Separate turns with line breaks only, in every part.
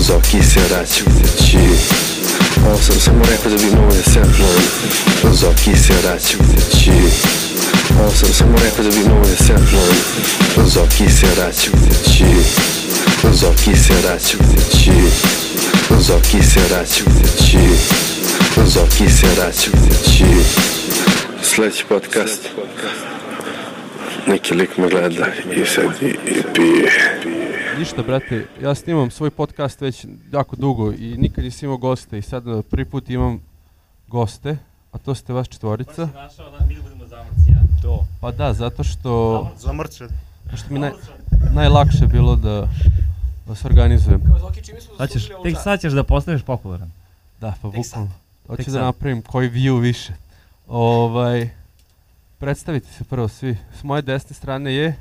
só que será te curtir. Nossa, é essa mulher coisa de novo esse ano. Só que será te curtir. Nossa, é essa mulher coisa de novo esse ano. Só que será te curtir. Só que será te curtir. Só que será te curtir. Só que será te curtir. Sledeći podcast. Neki lik me é gleda i sad i, i pije.
Ništa, brate, ja snimam svoj podcast već jako dugo i nikad nisam imao goste i sad e, prvi put imam goste, a to ste vas četvorica.
našao da mi da budemo zamrci, ja? To.
Pa da, zato što,
Zamrče.
što mi naj, najlakše bilo da, da se organizujem.
Sad ćeš, tek sad ćeš da postaneš popularan.
Da, pa bukvalno. Hoću
Tek
da
sad.
napravim koji view više. Ovaj, predstavite se prvo svi. S moje desne strane je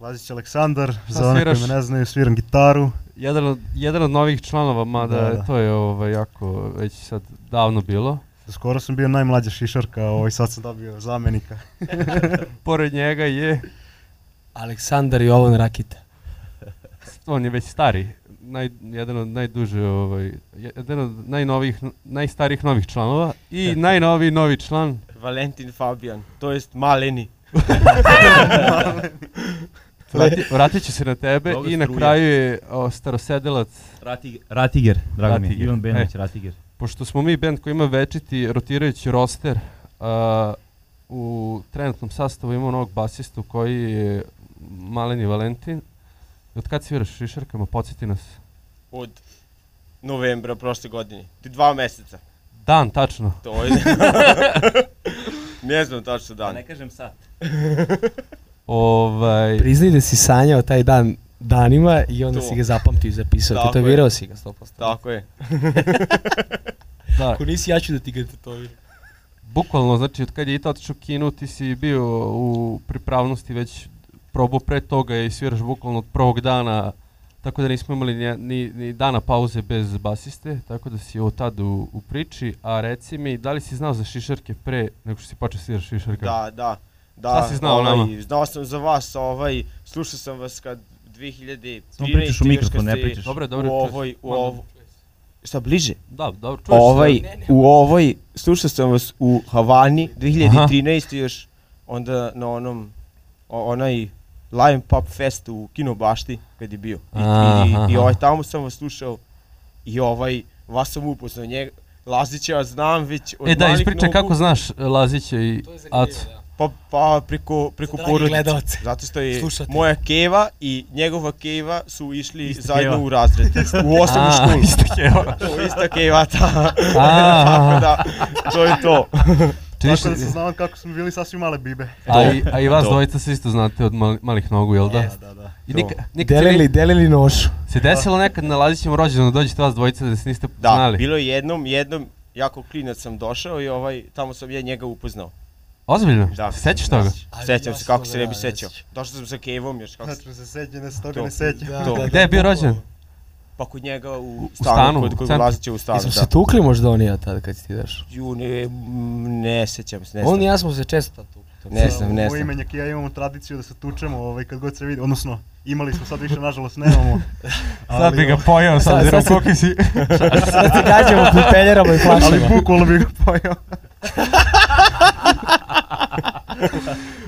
Lazić Aleksandar,
Šta
za one
Pa
koji
sviraš?
me ne znaju, sviram gitaru.
jedan od, jedan od novih članova, mada
Da, da.
to je ovaj, jako već sad davno bilo.
Skoro sam bio najmlađa šišarka, ovaj sad sam dobio zamenika.
Pored njega je
Aleksandar Jovan Rakita.
on je već stari, naj, jedan od najduže, ovaj, jedan od najnovijih, najstarijih novih članova i najnoviji novi član,
Valentin Fabijan, to jest maleni.
vrati, vratit će se na tebe
Mnogo
i na
struje.
kraju je o, starosedelac,
Ratiger, Ratiger drago mi je,
Ratiger,
Ivan Benović, Ratiger.
pošto smo mi band koji ima večiti rotirajući roster, a, u trenutnom sastavu imamo novog basistu koji je Maleni Valentin. Od kad sviraš u šišarkama, podsjeti nas.
Od novembra prošle godine. Ti dva meseca.
Dan, tačno.
To je... ne znam tačno
Da
dan.
ne kažem sad.
Ovaj,
Priznaj da si sanjao taj dan danima i onda
To.
si ga zapamtio i zapisao.
Tako je.
Tetovirao si ga 100%.
Tako je.
da,
Ako nisi, ja ću da ti ga tetoviram.
Bukvalno, znači od kad je Ita otišao u kinu, ti si bio u pripravnosti već probao pre toga i sviraš bukvalno od prvog dana, tako da nismo imali ni, ni, ni dana pauze bez basiste, tako da si od tad u, u priči, a reci mi, da li si znao za šišarke pre nego što si počeo sviraš šišarke?
Da, da. Da,
Šta si znao o
ovaj,
nama?
Znao sam za vas, ovaj, slušao sam vas kad 2000...
Samo pričaš u mikrofon, ne pričaš.
Dobro, dobro.
U
čuj se.
ovoj, u
Malo-
ovoj... Šta, bliže?
Da, dobro, čuješ
Ovaj,
se.
u ovoj, slušao sam vas u Havani 2013. još, onda na onom, o, onaj Lion Pop Fest u Kinobašti kad je bio. I,
Aha.
i, i ovaj, tamo sam vas slušao i ovaj, vas sam upoznao njega. Lazića ja znam već od
E da,
malih
ispričaj
nogu,
kako znaš Lazića i
To je zanimljivo,
Acu.
da.
pa, pa preko, preko
Za drage
porodice.
gledaoce.
Zato što je
Slušatelje.
moja keva i njegova keva su išli
Ista
zajedno
keva.
u razred. U osnovnu
A,
školu.
isto je ovo.
To je ista keva ta.
A,
Tako da, to je to.
čuješ-
Tako da se znam kako smo bili sasvim male bibe.
a, i, a i vas
To.
dvojica se isto znate od mali- malih nogu, jel da?
E, Da, da.
I nika, nika
Delili, delili nošu.
Se desilo nekad na Lazićevom rođendanu dođete vas dvojica da se niste
Da,
znali?
bilo je jednom, jednom, jako klinac sam došao i ovaj, tamo sam ja njega upoznao.
Ozbiljno?
Da.
Se sećaš toga?
Ali
Sećam
ja
se
se
kako
toga
se ne bi
da, ne
sećao.
sećam.
Došao sam sa Kevom još, kako se,
Znači se seđe, ne se toga
To.
ne seđe.
Da,
To.
da, da,
Gde je bio
bukvalno.
rođen?
pa kod njega u
stanu,
stanu,
u
kod, kod
centru.
Lazića u stanu,
Jesmo se
da.
tukli možda on i ja tada kad si ti daš?
Ju, ne, m, ne sećam se, ne
On i
znam.
ja smo se često tad tukli. to
Ne
se-
znam, ne
Moj
znam.
imenjak i ja imamo tradiciju da se tučemo ovaj, kad god se vidi, odnosno imali smo, sad više nažalost nemamo.
Sad bi ga pojao,
Sad-
sad obzirom
sad si-
koliki si...
Sad se gađamo pipeljerama i
Ali
flašama.
bukvalno bih ga pojao.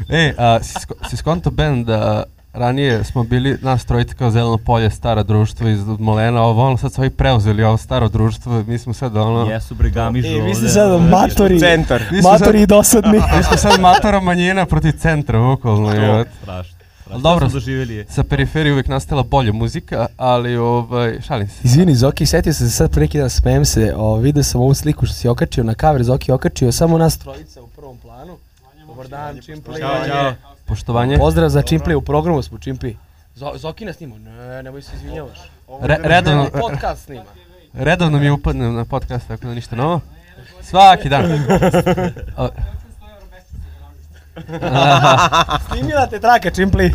E, a, si, sko- si skonto band da ranije smo bili nas trojica kao zeleno polje, stara društvo iz Molena, ovo ono sad su ovi preuzeli ovo staro društvo, mi smo sad ono...
Jesu bre gamižu
E, vi ste sad matori.
Centar.
Mi smo sad,
Matori i dosadni.
mi smo sad matora manjina protiv centra, bukvalno. jebote.
Strašno.
Ali
Strašno
dobro.
dobro. smo doživjeli je.
Sa periferije uvijek nastala bolja muzika, ali ovaj, šalim se.
Izvini, Zoki, setio sam se sad pre neki dan, smijem se, o, video sam ovu sliku što si okačio na kaver, Zoki je okačio samo nas trojica u prvom planu. Dobar dan, Čimplay.
Ćao, ćao.
Poštovanje.
Pozdrav za Čimplay, u programu smo Čimplay. Zo, Zoki nas snima, ne, nemoj se izvinjavaš.
Re- redovno,
Podcast snima.
Redovno mi upadne na podcast, tako da ništa novo. Svaki dan. A-
Snimila te traka, Čimplay.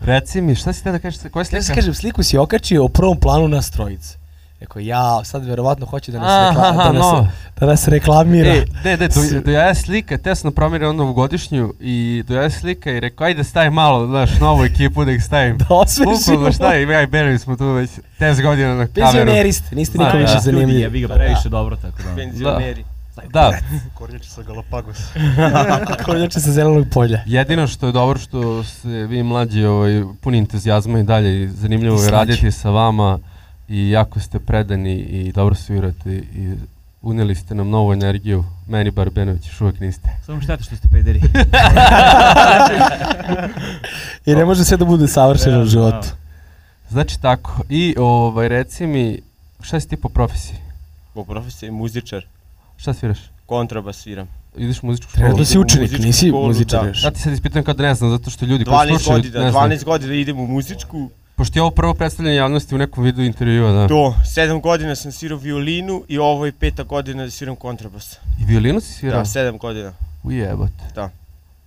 Reci mi, šta si te da kažeš, koja
Ja
slika?
se kažem, sliku si okačio u prvom planu nas trojice. Rekao, jao, sad verovatno hoće da nas, rekla,
Aha,
da nas,
no.
da nas reklamira.
E, ne, ne, do, dojaja slika, tesno promira onu novogodišnju i dojaja slika i rekao, ajde stavi malo, znaš, novu ekipu da ih stavim.
da osvešimo.
Bukvalno šta, i ja i Barry smo tu već 10 godina na kameru.
Penzioneri ste, niste
Ma,
nikom više
da.
zanimljivi.
Ljudi, jebi ga previše dobro, tako da. ono.
Penzioneri.
Da,
Kornjači sa Galapagos.
Kornjače sa zelenog polja.
jedino što je dobro što se vi mlađi ovaj, puni entuzijazma i dalje i zanimljivo
I
je
slađi.
raditi sa vama i jako ste predani i dobro svirate i unijeli ste nam novu energiju. Meni bar Benović još uvijek niste.
Samo šteta što ste pederi.
I ne može sve da bude savršeno u
Realno,
životu.
Znači tako, i ovaj, reci mi, šta si ti po profesiji?
Po profesiji muzičar,
Šta sviraš?
kontrabas sviram.
Ideš u muzičku školu?
Trenutno
idem
si
u
učenik,
muzičku
nisi
školu,
muzičar
da.
još.
Ja ti sad ispitujem kada ne znam, zato što ljudi koji
12
slušaju,
godina,
ne znam.
12 godina idem u muzičku.
Pošto je ovo prvo predstavljanje javnosti u nekom vidu intervjua, da.
To, 7 godina sam svirao violinu i ovo je peta godina da sviram kontrabas.
I violinu si svirao?
Da, 7 godina.
Ujebote.
Da.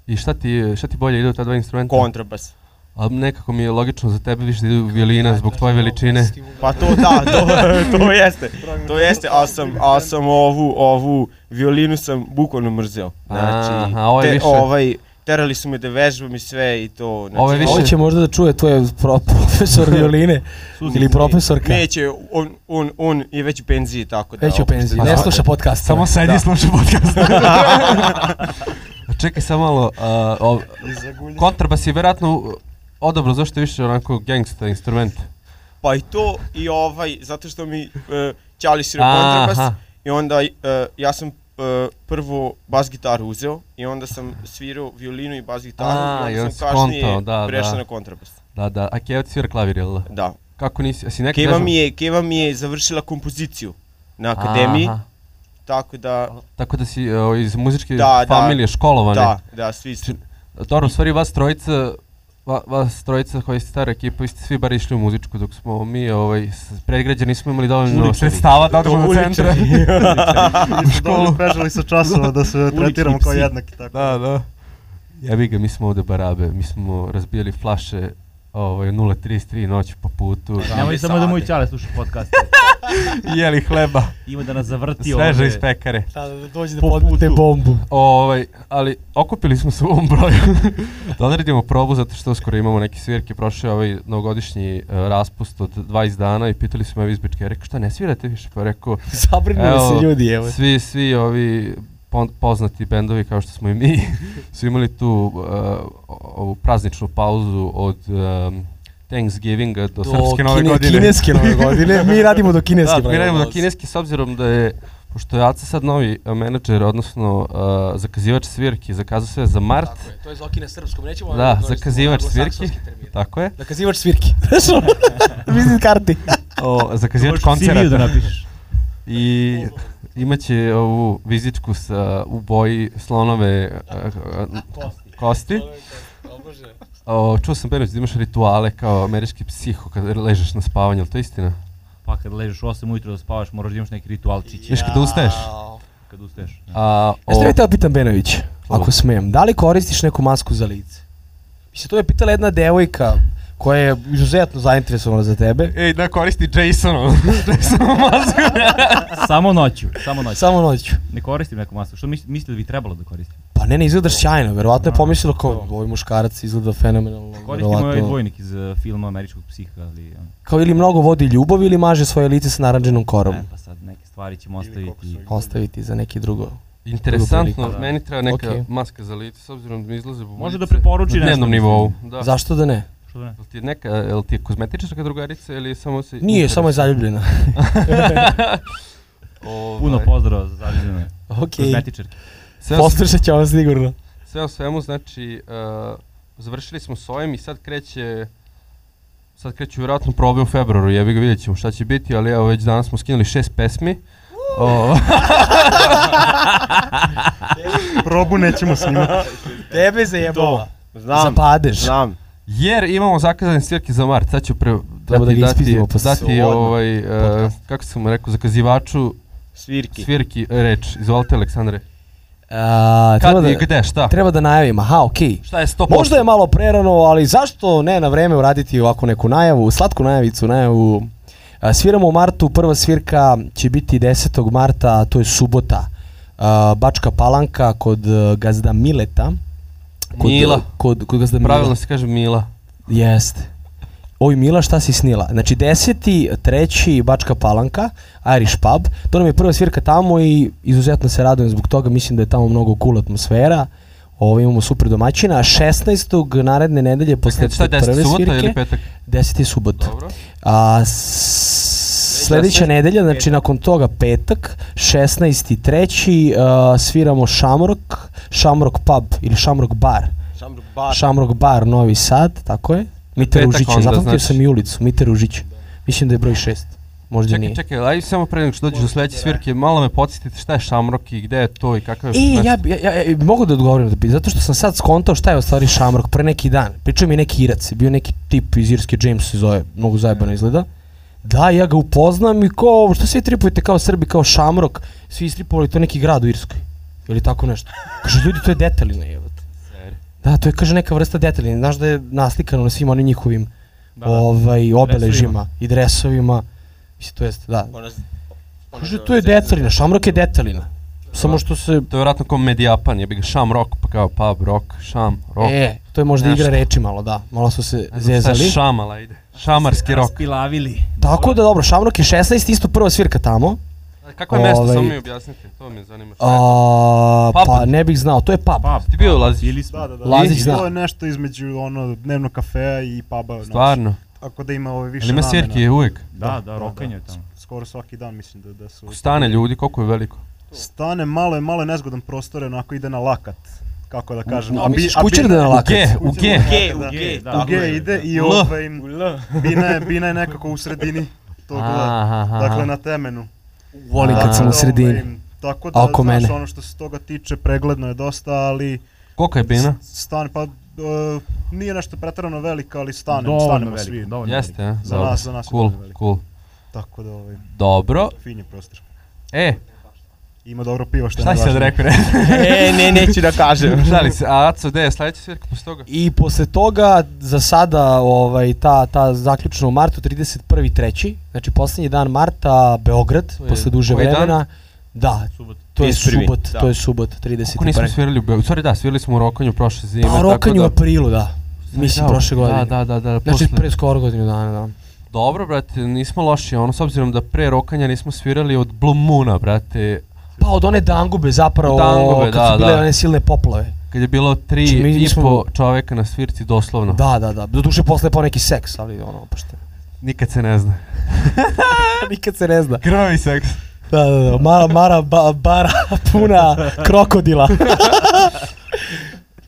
I šta ti, šta ti bolje ide u ta dva instrumenta?
Kontrabas.
A nekako mi je logično za tebe više da idu violina zbog tvoje veličine.
Pa to da, to, to jeste. To jeste, ali sam, ali sam ovu, ovu violinu sam bukvalno mrzeo. Znači,
Aha, ovo je više-
ovaj, terali su me da vežbam i sve i to. Znači,
Ovo je više-
Ovo će možda da čuje tvoje pro, profesor violine ili profesorka.
Neće, on, on, on je već u penziji, tako da...
Već je u
opšte-
penziji,
A
ne
samo-
sluša podcast.
Samo sedi i
Da.
sluša podcast. A Čekaj samo malo, a, o, kontrabas je vjerojatno u- odabro, zašto je više onako gangsta instrument?
Pa i to i ovaj, zato što mi uh, Ćali svira
Aha.
kontrabas i onda e, ja sam e, prvo bas gitaru uzeo i onda sam svirao violinu i bas gitaru
A,
i
i
onda
onda si
sam kasnije
skontao, da, da.
prešao na kontrabas.
Da, da, a Keva ti svira klavir, jel da?
Da.
Kako nisi, jesi nekad...
Keva mi, je, Keva mi je završila kompoziciju na akademiji,
Aha.
tako da,
Tako da si o, iz muzičke
Da, da.
familije školovane.
da, da, svi su.
Či- Dobro, u stvari vas trojica, va, vas trojica koji ste stara ekipa, vi ste svi bar išli u muzičku, dok smo mi ovaj, s predgrađa nismo imali dovoljno
Uličari.
sredstava da odemo do
Uličari.
centra.
Mi smo dobro pežali sa časova da se tretiramo kao
psi.
jednaki. Tako.
da, da. Jebi ga, mi smo ovde barabe, mi smo razbijali flaše ovaj, 0.33 noć po putu,
Nemoj
Same
samo da moj
sade.
Ćale sluša podcast.
jeli hleba,
Ima da nas zavrti ovdje.
sveže iz pekare.
Da, da dođe da
Po
podmete
putu.
bombu.
Ovaj, ali okupili smo se u ovom broju da odredimo probu zato što uskoro imamo neke svirke. Prošao je ovaj novogodišnji eh, raspust od 20 dana i pitali su me ovi iz Bičke, rekao šta ne svirate više? Pa rekao,
Zabrinuli
Evo,
se ljudi, evo.
svi, svi ovi pon- poznati bendovi kao što smo i mi su imali tu eh, ovu prazničnu pauzu od em, Thanksgivinga do, srpske nove
kine-
godine.
Kineske nove godine. Mi radimo do kineske.
Da, mi radimo do
brate.
kineski s obzirom da je pošto je Aca sad novi eh, menadžer, odnosno eh, zakazivač svirki, zakazao sve za mart,
Tako je, to je Zoki na srpskom, nećemo...
Da,
ono, to je
zakazivač
anglosaksonski
svirki.
termin.
Tako je.
Zakazivač svirki. Vizit karti.
O, zakazivač
Možeš CV-u da
koncerata.
napišeš.
I imaće ovu vizičku sa, u boji slonove a, a, kosti. O, čuo sam Benović da imaš rituale kao američki psiho kada ležeš na spavanju, ali to je istina?
Pa kad ležeš u 8 ujutro da spavaš, moraš da imaš neki ritualčić
Viš kada ustaješ?
kad ustaješ.
A,
Ja
o,
sam teo pitam Benović, ako smem, da li koristiš neku masku za lice? Mislim, to me pitala jedna devojka koja je izuzetno zainteresovana za tebe.
Ej, da koristi
ono.
Jasonov. Jasonov masku.
Samo noću, samo noću.
Samo noću.
Ne koristim neku masku. Što mis- mislite da bi trebalo da koristim?
Pa ne, ne izgledaš sjajno, verovatno je pomislilo kao ovaj muškarac izgleda fenomenalno,
Koristim ovaj
verovatno.
dvojnik iz uh, filma američkog psiha, ali... ono,
Kao ili mnogo vodi ljubav ili maže svoje lice sa naranđenom korom.
E, pa sad neke stvari ćemo ostaviti.
Ostaviti za neki drugo.
Interesantno,
Da.
meni treba neka
Okej.
maska za lice, s obzirom da mi izlaze bubulice.
Može da preporuči
na
nešto.
dnevnom
mislim.
nivou. Da.
Zašto da ne?
Što da ne?
Jel ti je neka, jel ti je kozmetičarka drugarica ili samo se...
Nije, samo je zaljubljena.
Ovaj,
Puno pozdrava za zaljubljene
Okej,
kozmetičarke.
sve, o,
poslušat će ovo sigurno.
sve o svemu, znači, uh, završili smo s ovim i sad kreće, sad kreću vjerojatno probe u februaru, jebi ga vidjet ćemo šta će biti, ali evo već danas smo skinuli šest pesmi. O,
Probu nećemo snimati.
Tebe zajebava.
Znam,
Zapadeš.
znam.
jer imamo zakazane svirke za mart, sad ću pre,
Treba da
dati-
ga
dati-
ispizimo posle
dati
svog
ovaj, uh, kako sam rekao, zakazivaču
Svirki.
svirki e, reč. Izvolite Aleksandre.
A, treba
Kad
da,
i gde, šta?
treba da najavim, aha, okej.
Šta je 100%?
Možda je malo prerano, ali zašto ne na vreme uraditi ovako neku najavu, slatku najavicu, najavu A, Sviramo u martu, prva svirka će biti 10. marta, to je subota. A, Bačka Palanka kod e, gazda Mileta. Kod,
Mila.
Kod, kod gazda Mila.
Pravilno se kaže Mila.
Jeste. Oj Mila, šta si snila? Znači 10. treći Bačka Palanka, Irish Pub. To nam je prva svirka tamo i izuzetno se radujem zbog toga. Mislim da je tamo mnogo cool atmosfera. Ovo imamo super domaćina. 16. naredne nedelje posle
Šta je
te
10.
prve
subota
svirke.
ili petak?
10. subot.
Dobro.
A s- sledeća nedelja, znači nakon toga petak, 16. treći, uh, sviramo Šamrok, Šamrok Pub ili Šamrok Bar.
Šamruk bar.
Šamrok bar Novi Sad, tako je. Mite
Petak
Ružića,
onda,
zapamtio
znači.
sam i ulicu, Mite Ružića. Mislim da je broj 6. Možda
Čekaj,
nije.
čekaj, aj samo pre nego što dođeš do sledeće svirke, malo me podsjetite šta je Šamrok i gde je to i kakav je...
E,
mesto?
ja, bi- ja, ja, ja, mogu da odgovorim na to pitanje, zato što sam sad skontao šta je u stvari Šamrok pre neki dan. Pričao mi je neki Irac, bio neki tip iz Irske, James se zove, mnogo zajebano izgleda. Da, ja ga upoznam i kao, što svi tripujete kao Srbi, kao Šamrok, svi istripovali to je neki grad u Irskoj. Ili tako nešto. Kaže, ljudi, to je detaljno, jebate. Da, to je, kaže, neka vrsta detaljina. Znaš da je naslikano na svim onim njihovim
Da, da.
ovaj, obeležima i dresovima. Mislim, to jest, da.
Ona, ona
Kaže, to je detaljina, Šamrok je detaljina. Samo što se
To je vjerojatno kao Medijapan, je bi ga Šam Rock, pa kao pub rock, Šam Rock. E,
E, to je možda
Nešto.
igra reči malo, da. Malo su se
Šta je
zezali.
šamala ide? Šamarski rock.
Raspilavili.
Tako da dobro, Šamrok je 16, isto prva svirka tamo.
Kako je mesto,
Ovaj-
samo mi objasnite, to me zanima. šta je.
A,
Pub.
pa ne bih znao, to je pub.
Pub.
Ti bio ulaziš?
pa, Bili smo.
Da, da, da.
Lazić
I
zna.
To je nešto između ono dnevnog kafea i puba. znaš.
Stvarno?
Tako da ima ove više
Ali ima
namena.
svirke uvijek?
Da, da, rokanje je tamo.
Skoro svaki dan mislim da, da su...
Stane ljudi, koliko je veliko?
Stane, malo je, malo je nezgodan prostor, onako ide na lakat. Kako da kažem.
A misliš
bi- bi-
kućer da je na lakat?
G, u G.
G, u
Da.
G,
da.
U G ide i
L.
ovaj,
U L.
bina je, bina je nekako u sredini tog L.
Aha, aha.
Dakle, na temenu.
Volim kad sam u
Ovaj,
sredini.
Tako
A
da,
oko
znaš,
mene?
ono što se toga tiče, pregledno je dosta, ali
Koliko je bina?
stane, pa e, nije nešto preterano veliko, ali stane,
Dovoljno
stanemo
velik,
svi.
dovoljno velik.
Jeste, a?
Za
Dobro.
nas, za nas je
Cool,
dovoljno veliko.
cool.
Tako da, ovaj,
Dobro.
fin je prostor.
E,
Ima dobro pivo, što je
šta si sad
najvažnije.
rekao?
E, ne, neću da kažem.
Šali se, a Aco, gde je sledeća svirka posle toga?
I posle toga, za sada, ovaj, ta, ta zaključna u martu, 31. treći, znači poslednji dan marta, Beograd,
To je
posle duže
koji dan?
vremena. Da,
Subot.
to je
31.,
subot,
da.
to je subot,
Kako nismo
31.
svirali u Beogradu? Sorry, da, svirali smo u Rokanju prošle zime.
Pa
tako
rokanju
da-
u aprilu, da. Mislim,
Da,
prošle godine.
Da, da, da, da.
Znači,
posle-
pre skoro godinu dana, da.
Dobro, brate, nismo loši, ono, s obzirom da pre rokanja nismo svirali od Blue Moona, brate,
Pa od one dangube zapravo,
Dangube,
kad
da,
su bile
da.
one silne poplave.
kad je bilo tri
Znači, mi
i
nismo-
po čoveka na svirci, doslovno.
Da, da, da. Doduše posle je pao neki seks, ali ono, pošto.
Nikad se ne zna.
Nikad se ne zna.
Krvavi seks.
Da, da, da. Mara, mara, ba, bara, puna krokodila.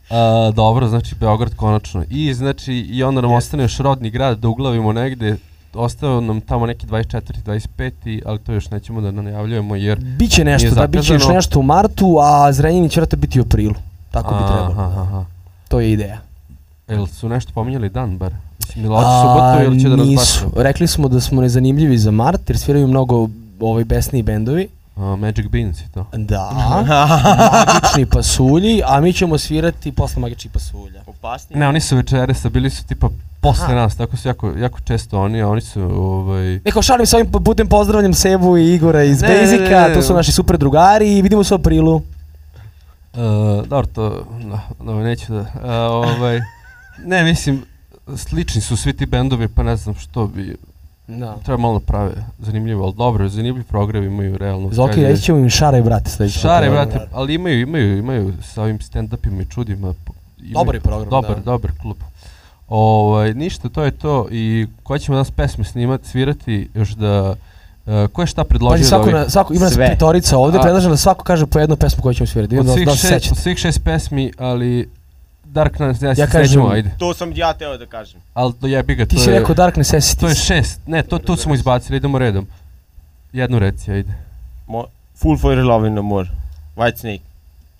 A, dobro, znači Beograd konačno. I znači i onda nam ostane još rodni grad da uglavimo negde. Ostao nam tamo neki 24. 25. ali to još nećemo da najavljujemo jer
biće nešto, da, biće još
zakazano.
nešto u martu, a Zrenjanin će vrata biti u aprilu. Tako bi trebalo.
Aha, aha.
To je ideja.
Jel su nešto pominjali dan bar? Mislim, ili oči subotu ili će da nas
nisu.
bacu?
Rekli smo da smo nezanimljivi za mart, jer sviraju mnogo ovaj besniji bendovi.
A, Magic Beans i to.
Da. magični pasulji, a mi ćemo svirati posle magičnih pasulja.
Opasnije.
Ne, oni su večeras, a bili su tipa posle nas, tako su jako, jako često oni, a oni su, ovaj...
Neko šalim se ovim putem pozdravljam Sebu i Igora iz
Ne, ne,
Basica,
ne, ne.
to su naši super drugari i vidimo se u aprilu.
Uh, dobro, to, da, dobro, neću da, e, ovaj, ne, mislim, slični su svi ti bendovi, pa ne znam što bi,
Da.
treba malo da prave zanimljivo, ali dobro, zanimljivi program imaju realno.
Zoki, reći ćemo im šaraj, brate, sledeći.
Šare,
put.
brate, ali imaju, imaju, imaju sa ovim stand-upima i čudima. po- imaju-
Dobar je program,
Dobar,
da.
dobar klub. Ovaj, ništa, to je to i koja ćemo danas pesme snimati, svirati, još da, e, ko je šta predložio
Pazi,
od
Pa svako,
ovih?
na, svako, ima nas
Sve.
petorica ovde,
A-
predlažem da svako kaže po jednu pesmu koju ćemo svirati.
od,
Vidim da,
svih
da se
šest,
sećate.
od svih šest pesmi, ali Dark Knight, ja,
Ja
se
kažem-
sećamo, ajde.
To sam ja teo da kažem.
Ali to jebi ga,
Ti
to
si
je,
rekao Dark Necessities.
to je šest, ne, to, tu smo izbacili, idemo redom. Jednu reci, ajde.
Mo, full for your love in the more. White Snake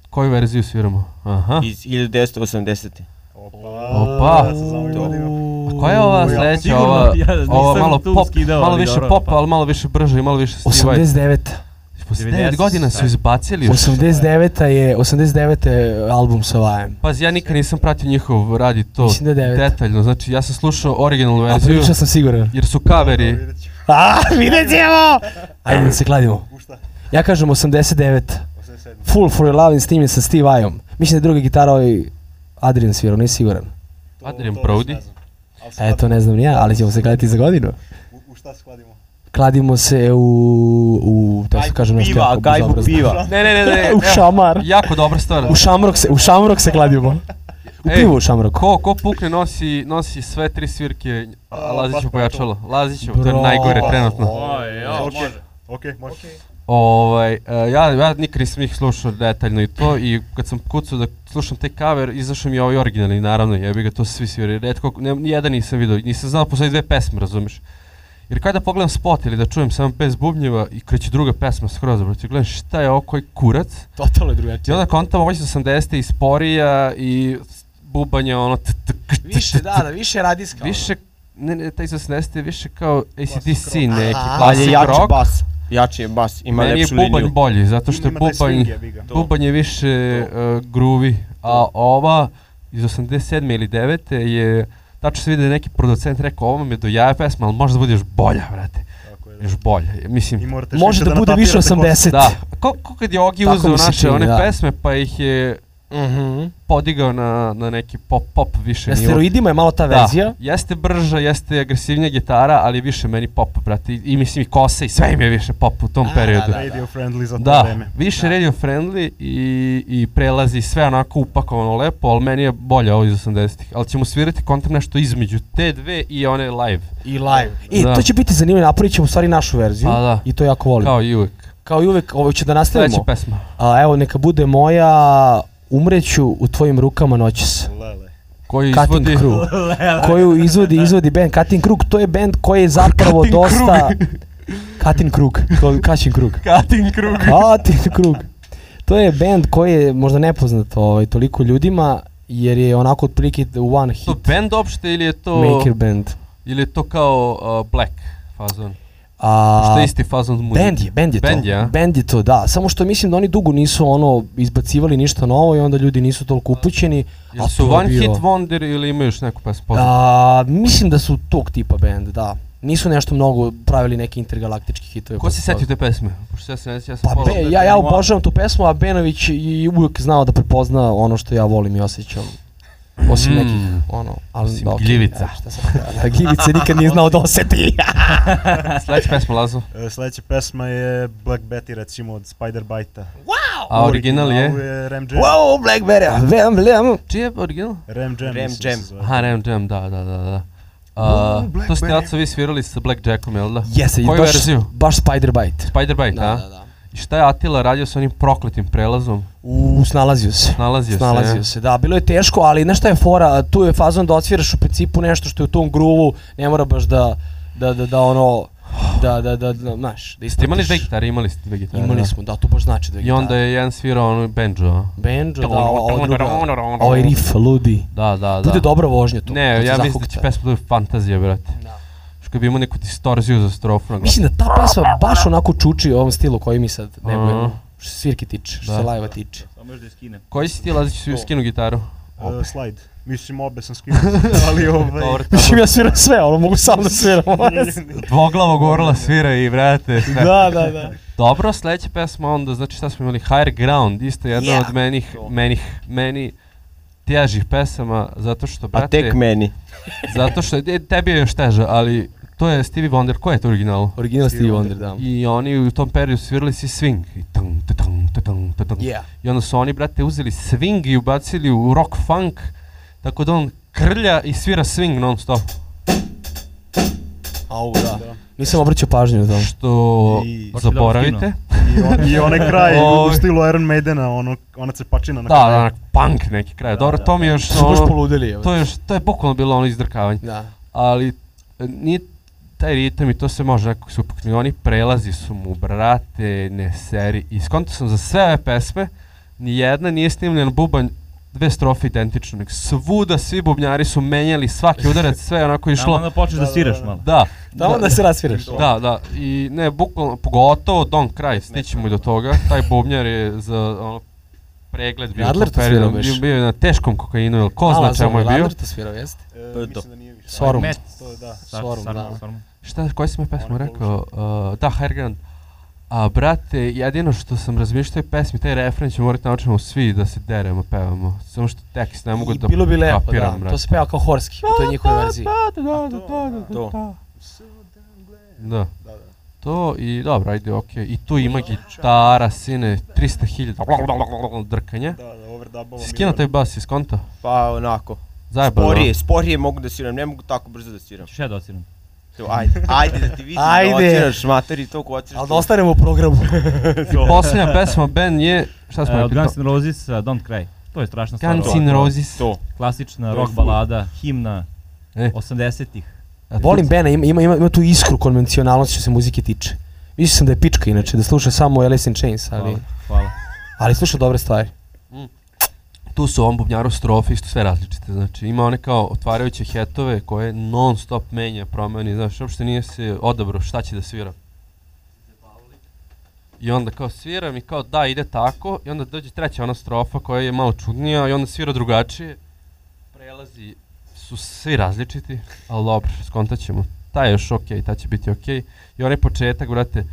Koju verziju sviramo? Aha.
iz 1980.
Pa,
Opa.
Pa,
Ja se znam godinu.
A koja je ova
Ja
sledeća,
sigurno,
ova,
ja nisam
ova malo
tu
pop,
skidao,
malo
ali
više
dobro,
popa,
pa.
ali malo više brže i malo više stivaj.
89.
89 godina su izbacili ovaj. još.
89. je, 89. je album sa Vajem.
Pazi, ja nikad nisam pratio njihov radi to
Mislim da je devet.
detaljno, znači ja sam slušao originalnu
A
verziju,
prilično sam siguran.
jer su kaveri,
Vidjet ću.
A, vidjet ćemo! Ajde da se kladimo.
U šta?
Ja kažem 89.
87.
Full for your loving snimljen sa Steve Vajom. Mislim da je druga gitara ovaj Adrian svirao, nisam siguran.
To-
Adrian
to baš
Brody?
ne znam. Ali se
E, to
kladimo.
ne znam ni ja, ali ćemo se gledati za godinu.
U, u šta se kladimo?
Kladimo se u... u da se
Gajbu
kažem nešto
piva,
jako
gajbu
bezobrazno.
piva.
Ne, ne, ne, ne.
u šamar.
jako dobra stvar.
U šamrok se, u šamrok se kladimo. U
Ej,
pivu u šamroku.
E, Ko, ko pukne nosi, nosi sve tri svirke
A,
Laziću
baš pa
pojačalo. Laziću, to je
Bro.
najgore E, trenutno.
Oj, jo,
Ok,
može.
Pa, znači, Ok, može.
Ovaj, e, ja, ja nikad nisam ih slušao detaljno i to i kad sam kucao da slušam te cover, izašao mi je ovaj originalni, naravno, jebi ga, to su svi svirali. Redko, ne, nijedan nisam vidio, nisam znao, postoji dve pesme, razumiješ? Jer kada pogledam spot ili da čujem samo bez bubnjeva i kreće druga pesma skroz, brate, gledam šta je ovo koji kurac,
Totalno je
I
drugačije.
onda kontam ovo će 80. i sporija i s- bubanje ono t- t- k- t-
Više, da, da, više radijska. ono.
više ne, ne, taj iz 80. je više kao ACDC
rock.
neki,
Aha.
Ali
classic
je
Ah,
jači
rock.
bas. Jači je bas, ima
Meni je
lepšu
bubanj
liniju.
bolji, zato što je
Ima taj swing,
bubanj,
jebi ga.
bubanj je više uh, groovy, a ova iz 87. ili 9. je tačno se vidi da je neki producent rekao ovo mi je do jaja pesma, ali može da bude još bolja, vrate.
Tako je, da.
Još bolja, mislim.
I morate
Može
šećer
da bude više
natapirate ko-
80.
Da, ko, ko kad je Ogi
Tako
uzeo
mi se
naše
čini,
one
da.
pesme pa ih je
Mhm.
podigao na, na neki pop pop više
Na
nivo.
steroidima je malo ta
Da,
verzija.
jeste brža, jeste agresivnija gitara, ali više meni pop, brate. I, i mislim i kose i sve im je više pop u tom
A,
periodu.
da,
Radio friendly za to
Da,
vreme.
više radio friendly i, i prelazi sve onako upakovano lepo, ali meni je bolje ovo iz 80-ih. Ali ćemo svirati kontem nešto između te dve i one live,
I live. I
Da.
E, to će biti zanimljivo, napravit ćemo u stvari našu verziju.
Pa da.
I to jako volim. Kao,
kao i uvijek.
i uvek, ovo će da
Sljedeća
nastavimo.
pesma.
A, evo, neka bude moja umreću u tvojim rukama noćas.
Lele.
Koju
Cutting
izvodi...
Crew. Koju izvodi, izvodi band Cutting Krug. To je band koji je zapravo
Cutting
dosta... Cutting Krug. To je Cutting Krug.
Cutting Crew.
Cutting Krug. To je band koji je možda nepoznat ovaj, toliko ljudima, jer je onako otprilike one hit
To band opšte ili je to,
maker band.
ili je to kao uh, black fazon?
A,
Što je isti fazon muzike?
Band je, band je
Band
to.
je, a?
band je to, da. Samo što mislim da oni dugo nisu ono izbacivali ništa novo i onda ljudi nisu toliko upućeni.
Jel
a
su
to je
One
bio-
Hit Wonder ili imaju još neku pesmu poznatu?
A, mislim da su tog tipa band, da. Nisu nešto mnogo pravili neki intergalaktički hitove.
Ko se
posle
setio
toga.
te pesme? Pošto ja sam, ja sam
Pa
pola-
be, ja, ja obožavam tu pesmu, a Benović je uvijek znao da prepozna ono što ja volim i osjećam. Osim
Mm.
nekih, ono, ali
Osim
da, okej,
gljivica.
e, šta sam, da, da, gljivice nikad nije znao da osjeti.
Sljedeća pesma, Lazo.
E, Sljedeća pesma je Black Betty recimo od Spider Bite-a.
A original je?
Ram Jam.
wow, Blackberry, vem, vem.
Čiji je original?
Ram Jam.
Ram
mislim da
Jam.
se zove. E,
Aha, Ram Jam, da, da, da, da. A,
Black
to ste
Berry.
jaco vi svirali sa Black Jackom, jel da?
Jeste, i
Koju
baš,
verziju?
baš Spider Bite.
Spider Bite,
Da,
a?
da, da.
I šta je Atila radio sa onim prokletim prelazom?
U, snalazio se.
Snalazio se,
Snalazio
ne?
se, da. Bilo je teško, ali znaš šta je fora? Tu je fazon da odsviraš u principu nešto što je u tom gruvu, ne mora baš da, da, da, da ono, da, da, da, da, znaš, da
Ste imali dve
ispratiš.
gitare, imali ste dve gitare.
Imali
da.
smo, da, to baš znači dve
I onda je Ono, jedan svirao ono banjo, a?
Benjo, da, ovo druga, ovaj riff, ludi.
Da, ono. da, da.
Bude dobra vožnja tu.
Ne,
to te
ja mislim da
zahukta.
će pesma da je fantazija, brate.
Da.
Što kad bi imao neku distorziju za strofu na glavu.
Mislim da ta pesma baš onako čuči u ovom stilu koji mi sad ne
Aha.
budemo. Što se svirke tiče,
Mhm.
što
Da.
se lajva tiče.
Samo još da je skinem.
Koji si ti lazić su skinu gitaru?
E, slide. Mislim obe sam skinuo, ali ovaj...
Dobro,
Mislim, ja sviram sve, ono, mogu sam da sviram.
Dvoglavo gorla svira i vrate.
da, da, da.
Dobro, sljedeća pesma onda, znači šta smo imali? Higher Ground, isto jedna
Yeah.
od menih, menih, meni težih pesama, zato što,
A
brate,
tek meni.
zato što, e, tebi je još teža, ali to je Stevie Wonder, ko je to original?
Original Stevie Wonder, da.
I oni u tom periodu svirali si swing. I, tung, ta, tung, ta, tung, ta, tung.
Yeah.
I onda su oni, brate, uzeli swing i ubacili u rock funk, tako da on krlja i svira swing non stop.
Au, da. Nisam obraćao pažnju na to.
Što
I-
zaboravite.
I, on, I onaj kraj
Ovaj.
u stilu Iron Maidena, ono, ona cepačina na
Da, da, onak punk neki kraj. Dobro, to mi je još
Su baš
ono,
poludeli, evo.
to je još, to je bukvalno bilo ono izdrkavanje.
Da.
Ali e, nije taj ritam i to se može nekako se upuknuti. Oni prelazi su mu, brate, ne seri. I skonto sam za sve ove pesme, nijedna nije snimljen bubanj dve strofe identično. Nek svuda svi bubnjari su menjali svaki udarac, sve je onako
Tamo
išlo.
onda počneš da,
Da, da,
sviraš
da.
malo.
Da,
Da, onda se rasviraš.
Da, da, i ne, bukvalno, pogotovo Don Kraj, stićemo i do toga, taj bubnjar je za ono, pregled bio
Adler
u tom
to svirao
periodu,
baš.
bio, bio je na teškom kokainu, ili ko
Ala,
zna čemu je
Zoran
bio.
Lander to svirao, jeste?
E,
To je to.
mislim da nije više.
Sorum.
Met.
To je, da.
Sa-
Sorum,
sarma,
da.
sarma.
Šta, koja si me pesma
Ona
rekao? Uh, da, Hergrand. A, brate, jedino što sam razmišljao je pesmi, taj refren će morati naučimo svi da se deremo, pevamo. Samo što tekst ne mogu
I
da
bilo bi lepo,
kapiram,
da.
brate. Pa,
To se peva kao horski, u toj njihovoj verziji.
Da, da, da, da, da,
To.
da. Da.
Da, da.
To i dobro, ajde, okej. I tu ima gitara, sine, 300.000 drkanja.
Da, da, overdubova.
Si skinuo taj bas iz konta?
Pa onako.
Zajebano.
Sporije, sporije mogu da sviram, ne mogu tako brzo da sviram.
Ćeš ja da ociram.
To, ajde, ajde da ti vidim
Ajde.
da ociraš mater i to ko ociraš.
Ali da ostanemo u programu.
Posljednja pesma Ben je, šta smo
Uh,
uh, pitao?
Guns N' Roses, uh, Don't Cry. To je strašna stvar.
Guns
ovo.
N' Roses.
To.
Klasična
To je
rock
full.
balada, himna
E.
80-ih.
Volim Bena, ima, ima, ima, ima tu iskru konvencionalnosti što se muzike tiče. Mislio sam da je pička inače, da sluša samo Alice in Chains, ali,
Hvala, hvala.
ali sluša dobre stvari.
Tu su ovom bubnjaru strofe isto sve različite, znači ima one kao otvarajuće hetove koje non stop menja, promeni, znaš, uopšte nije se odabro šta će da svira. I onda kao sviram i kao da ide tako i onda dođe treća ona strofa koja je malo čudnija i onda svira drugačije. Prelazi su svi različiti, ali dobro, skontat ćemo. Ta je još okej, ta će biti okej. I onaj početak, brate,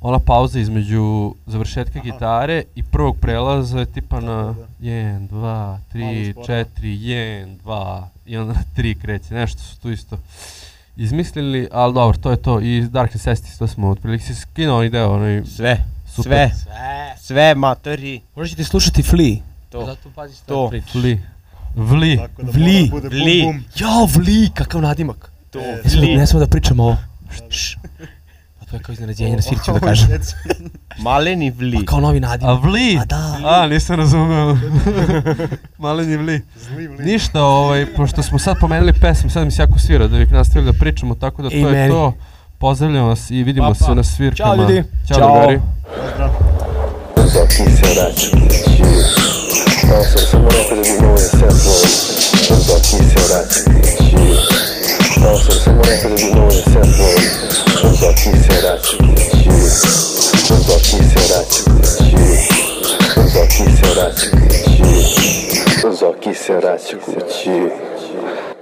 ona pauza između završetka gitare i prvog prelaza je tipa na 1, 2, 3,
Malo
4,
sporo.
1, 2 i onda na 3 kreće. Nešto su tu isto izmislili, ali dobro, to je to. I Dark Necessities, to smo otprilike si skinuo onaj deo, onaj
Sve,
Super.
sve, sve materi.
Možda ćete slušati Flea.
To.
Zato pazi šta
To.
pričaš.
vli. Vli.
Tako da
Vli,
mora da bude
vli.
bum bum.
Jao, Flea, kakav nadimak.
To.
E,
Ne smemo,
Li-
ne smemo da pričamo ovo. Šš. Pa to je kao iznenađenje, na sviri ću da
Ovo je
kažem.
deca.
Maleni
Pa
vli.
kao novi
A
nadimak.
vli?
A da.
A, nisam razumeo. Maleni vli.
Zli vli.
Ništa, ovaj, pošto smo sad pomenuli pesmu, sad mi se jako svira da bih nastavili da pričamo, tako da to
I
je
meni.
to. Pozdravljam vas i vidimo
Pa, pa.
se na svirkama.
Ćao, ljudi.
Ćao,
Ćao.
drugari.
Pozdrav.
Zoki se vraća. Ovo sam samo rekao da bi moje svetlo. Zoki se vraća. Ovo sam samo rekao da bi moje svetlo. Zoki se vraća. Zoki se vraća. Zoki se vraća. Zoki se vraća kući.